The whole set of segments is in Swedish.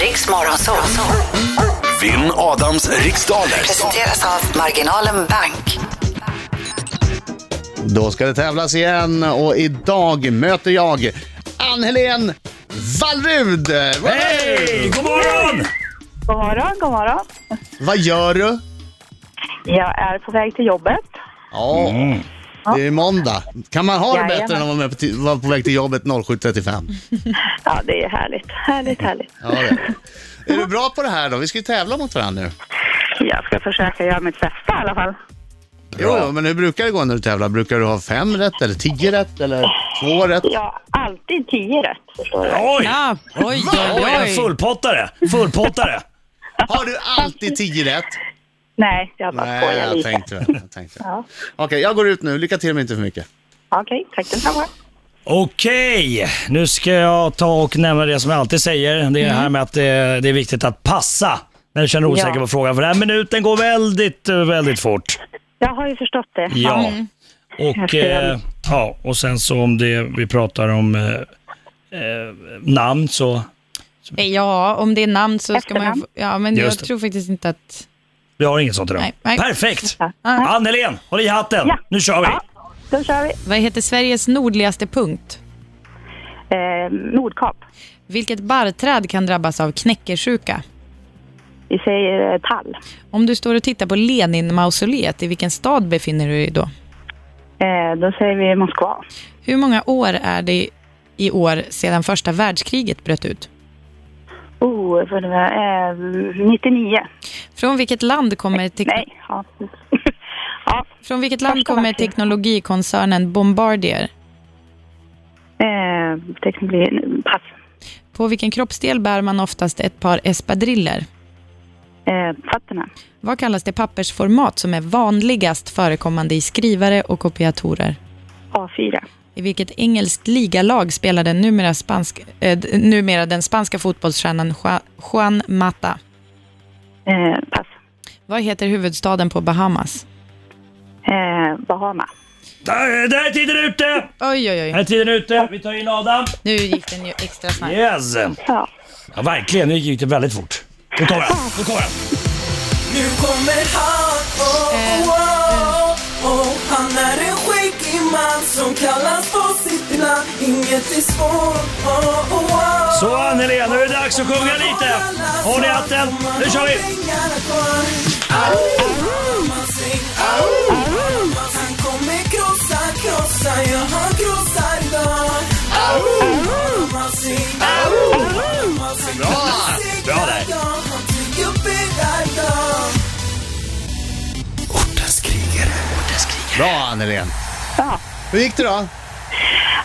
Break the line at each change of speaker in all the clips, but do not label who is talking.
Riks Morgonzoo.
Vinn Adams riksdaler.
Presenteras av Marginalen Bank.
Då ska det tävlas igen och idag möter jag Ann-Helén Wallrud!
Hej! God morgon!
God morgon, god morgon.
Vad gör du?
Jag är på väg till jobbet.
Ja, det är måndag. Kan man ha det
Jajamän.
bättre än att vara, med på, ti- vara på väg till jobbet 07.35?
Ja, det är härligt. Härligt, härligt.
Ja, det är. det. är du bra på det här då? Vi ska ju tävla mot varandra nu.
Jag ska försöka göra mitt bästa i alla fall.
Jo, men hur brukar det gå när du tävlar? Brukar du ha fem rätt eller tio rätt eller två rätt?
Jag har alltid tio rätt, förstår du.
Oj!
Ja, oj, oj,
Oj, en
oj.
fullpottare! Fullpottare!
Har du alltid tio rätt?
Nej, jag bara
Nej,
skojar
jag
lite.
tänkte väl. Jag tänkte. väl.
Ja.
Okej, jag går ut nu. Lycka till men inte för mycket.
Okej, tack detsamma.
Okej, nu ska jag ta och nämna det som jag alltid säger. Det är här med att eh, det är viktigt att passa när du känner dig osäker
Ja.
på frågan. För den här minuten går väldigt, eh, väldigt fort.
Jag har ju förstått det.
Ja. Mm. Och,
Efter den.
eh, ja, och sen så om det vi pratar om eh, eh, namn så,
Eh, Ja, om det är namn så ska man ju
Efternamn.
få, Ja, men
Just
jag
det.
tror faktiskt inte att...
vi har inget sånt idag.
Nej, nej.
Perfekt!
Ja.
Ann-Helén, håll i hatten!
Ja.
Nu kör vi!
Ja. Då kör vi.
Vad heter Sveriges nordligaste punkt?
Eh, Nordkap.
Vilket barrträd kan drabbas av knäckersjuka?
Vi säger eh, tall.
Om du står och tittar på Lenin-mausoleet, i vilken stad befinner du dig då?
Eh, då säger vi Moskva.
Hur många år är det i år sedan första världskriget bröt ut?
Oh, för det var, eh, 99.
Från vilket land kommer, tek-
Nej, ja. ja.
Från vilket land
Första
kommer
världskriget.
teknologikoncernen Bombardier?
Eh, teknologi. Pass.
På vilken kroppsdel bär man oftast ett par espadriller?
Eh, fötterna.
Vad kallas det pappersformat som är vanligast förekommande i skrivare och kopiatorer?
A4.
I vilket engelskt ligalag spelar den numera, spansk, eh, d- numera den spanska fotbollsstjärnan Jua- Juan Mata?
Eh, pass.
Vad heter huvudstaden på Bahamas?
Eh, Bahama.
Där, där är tiden ute!
Oj, oj,
Här
oj.
är tiden ute. Vi tar in Adam.
Nu gick den ju extra snabbt.
Yes!
Ja.
Ja, verkligen. Nu gick det väldigt fort. Nu kommer han. Nu kommer han.
Nu kommer han, oh, oh, oh, oh. Han är en skäggig man som kallas på sitt namn Inget är svårt, oh, oh, oh.
Så Anneli, nu är det dags att sjunga lite. Håll i hatten. Nu kör vi!
Au, au, au. Han kommer krossa, krossa, ja han krossar idag. Au, au, au.
Bra där.
Ja, han tycker bäddar idag.
Ortens krigare.
Bra Ann-Helén!
Ja.
Hur gick det då?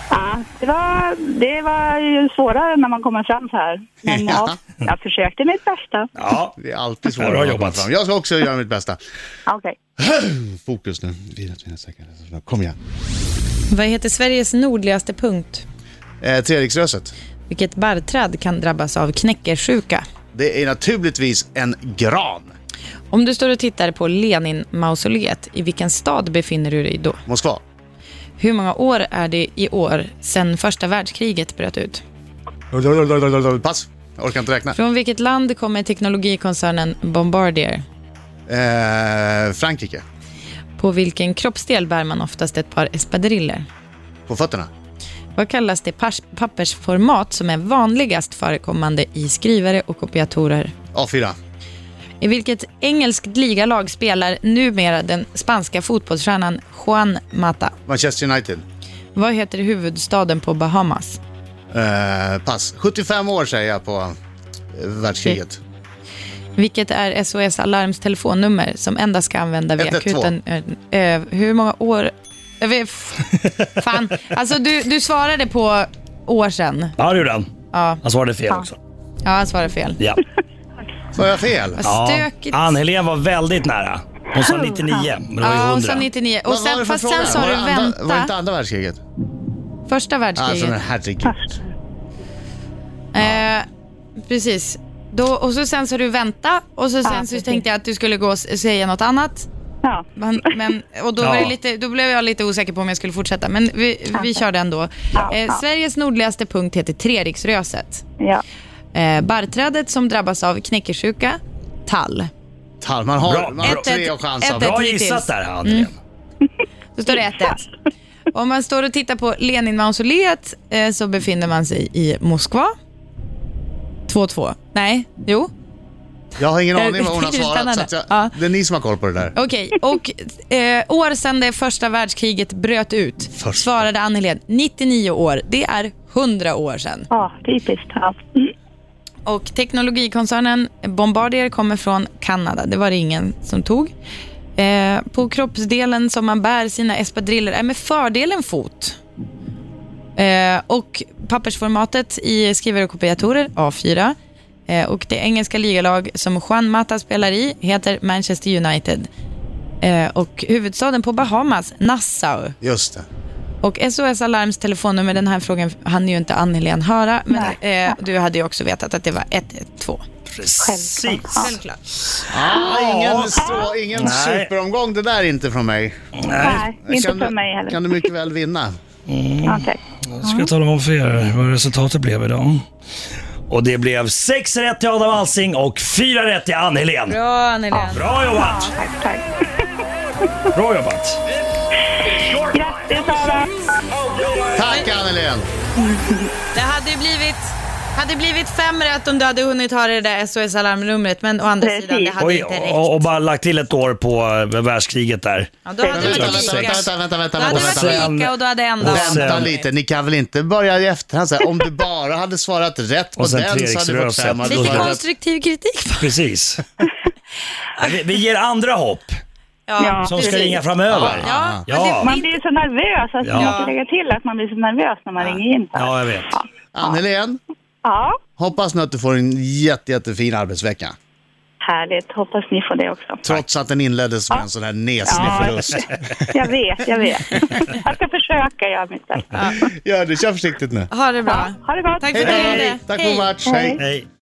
Ja, det var, det var ju svårare när man kommer fram så här. Men ja, jag försökte mitt bästa.
Ja.
Det är alltid svårt
Bra
att komma
jobbat.
fram. Jag ska också göra mitt bästa.
Okej.
Fokus nu. Vila, vila, säkert. Kom igen.
Vad heter Sveriges nordligaste punkt?
Eh, Treriksröset.
Vilket barrträd kan drabbas av knäckersjuka?
Det är naturligtvis en gran.
Om du står och tittar på Lenin-mausoleet, i vilken stad befinner du dig då?
Moskva.
Hur många år är det i år sedan första världskriget bröt ut?
Pass. Jag orkar inte räkna.
Från vilket land kommer teknologikoncernen Bombardier?
Eh, Frankrike.
På vilken kroppsdel bär man oftast ett par espadriller?
På fötterna.
Vad kallas det pars- pappersformat som är vanligast förekommande i skrivare och kopiatorer?
A4.
I vilket engelskt ligalag spelar numera den spanska fotbollsstjärnan Juan Mata?
Manchester United.
Vad heter huvudstaden på Bahamas?
Eh, pass. 75 år säger jag på eh, världskriget.
Vilket är SOS Alarms telefonnummer som endast ska använda vid
112.
akuten... Eh, eh, hur många år... Eh, vi- f- Fan, alltså du, du svarade på år sedan.
Ja, det gjorde han.
Ja,
Han svarade fel också.
ja han svarade fel.
Ja.
Sa jag fel?
ja.
Stökigt.
Ann-Helén var väldigt nära. Hon sa 99, men det var ju
Ja, och
100.
sen 99. Och
Vad var
sen,
det för
fast
fråga?
sen sa
Var
du
det andra- Var det inte
vänta.
andra världskriget? Ah,
Första
Alltså, men
världskriget.
herregud.
Eh, precis. Då, och så sen sa du vänta och så
Ah,
sen så
precis.
tänkte jag att du skulle gå och s- säga något annat.
Ja.
Men, men, och då,
Ja.
var det lite, då blev jag lite osäker på om jag skulle fortsätta, men vi, vi körde ändå.
Ja,
Eh,
ja.
Sveriges nordligaste punkt heter Treriksröset.
ja.
Eh, barrträdet som drabbas av knäckersjuka, tall.
Tar, man har,
Bra,
man har
ett,
tre
ett,
och chansar.
ett,
Bra.
Bra
hittills. Mm.
gissat där, Andrén.
Så står det 1-1. Om man står och tittar på Leninmausoleet eh, så befinner man sig i Moskva. 2-2. Nej, jo.
Jag har ingen
Eh,
aning vad hon har
det är
svarat. Så
spännande.
att jag,
Ja.
Det är ni som har koll på det där.
Okej, och eh, år sedan det första världskriget bröt ut
Första.
svarade Ann-Helén 99 år. Det är 100 år sedan.
Ja, typiskt. Ja. Mm.
Och teknologikoncernen Bombardier kommer från Kanada. Det var det ingen som tog. Eh, på kroppsdelen som man bär sina espadriller är med fördelen fot. Eh, och pappersformatet i skrivare och kopiatorer, A4. Eh, och det engelska ligalag som Juan Mata spelar i heter Manchester United. Eh, och huvudstaden på Bahamas, Nassau.
Just det.
Och SOS Alarms telefonnummer, den här frågan hann ju inte Annelien höra, men eh, du hade ju också vetat att det var 112.
Precis.
Självklart.
Ah, ingen så, ingen
Nej.
superomgång det där är inte från mig.
Nej, inte
Kan
för
du-
mig heller.
Kan du mycket väl vinna.
Ja, tack.
Jag ska tala om för er vad resultatet blev idag. Och det blev 6 rätt till Adam Alsing och 4 rätt till Ann-Helén.
Bra Annelien.
Bra jobbat!
tack, tack.
Bra jobbat!
Grattis, Sara!
Tack Annelien!
Det hade ju blivit, hade blivit fem rätt om du hade hunnit ha det där SOS Alarmnumret, men å andra
Precis.
sidan, det hade
Oj,
inte räckt.
och, och bara lagt till ett år på eh, världskriget där.
Ja, då hade det
Vänta,
varit
vänta,
lika.
vänta, vänta, vänta,
Då hade
vänta,
det varit
vänta.
lika och då hade en
Och
dag.
sen-
Vänta lite, ni kan väl inte börja i efterhand så här. Om du bara hade svarat rätt på
Och sen
den så hade du fått
Treriksröset.
femma. Då
Lite
hade-
konstruktiv kritik. bara.
Precis. Vi, vi ger andra hopp
Ja.
som ska
precis.
ringa framöver.
Ja,
Ja.
men
Man
det-
blir så nervös. Alltså,
Ja.
Jag måste lägga till att man blir så nervös när man ringer in. så här.
Ja, jag vet.
Annelien,
ja,
hoppas nu att du får en jätte, jättefin arbetsvecka.
härligt. Hoppas ni får det också.
Trots att den inleddes med en sån här neslig
Ja.
förlust.
Jag vet, jag vet. Jag ska försöka göra mitt bästa.
Gör det, kör försiktigt nu.
ha det bra.
Ha det gott!
Tack för att du ringde.
Tack för match, hej.
Hej.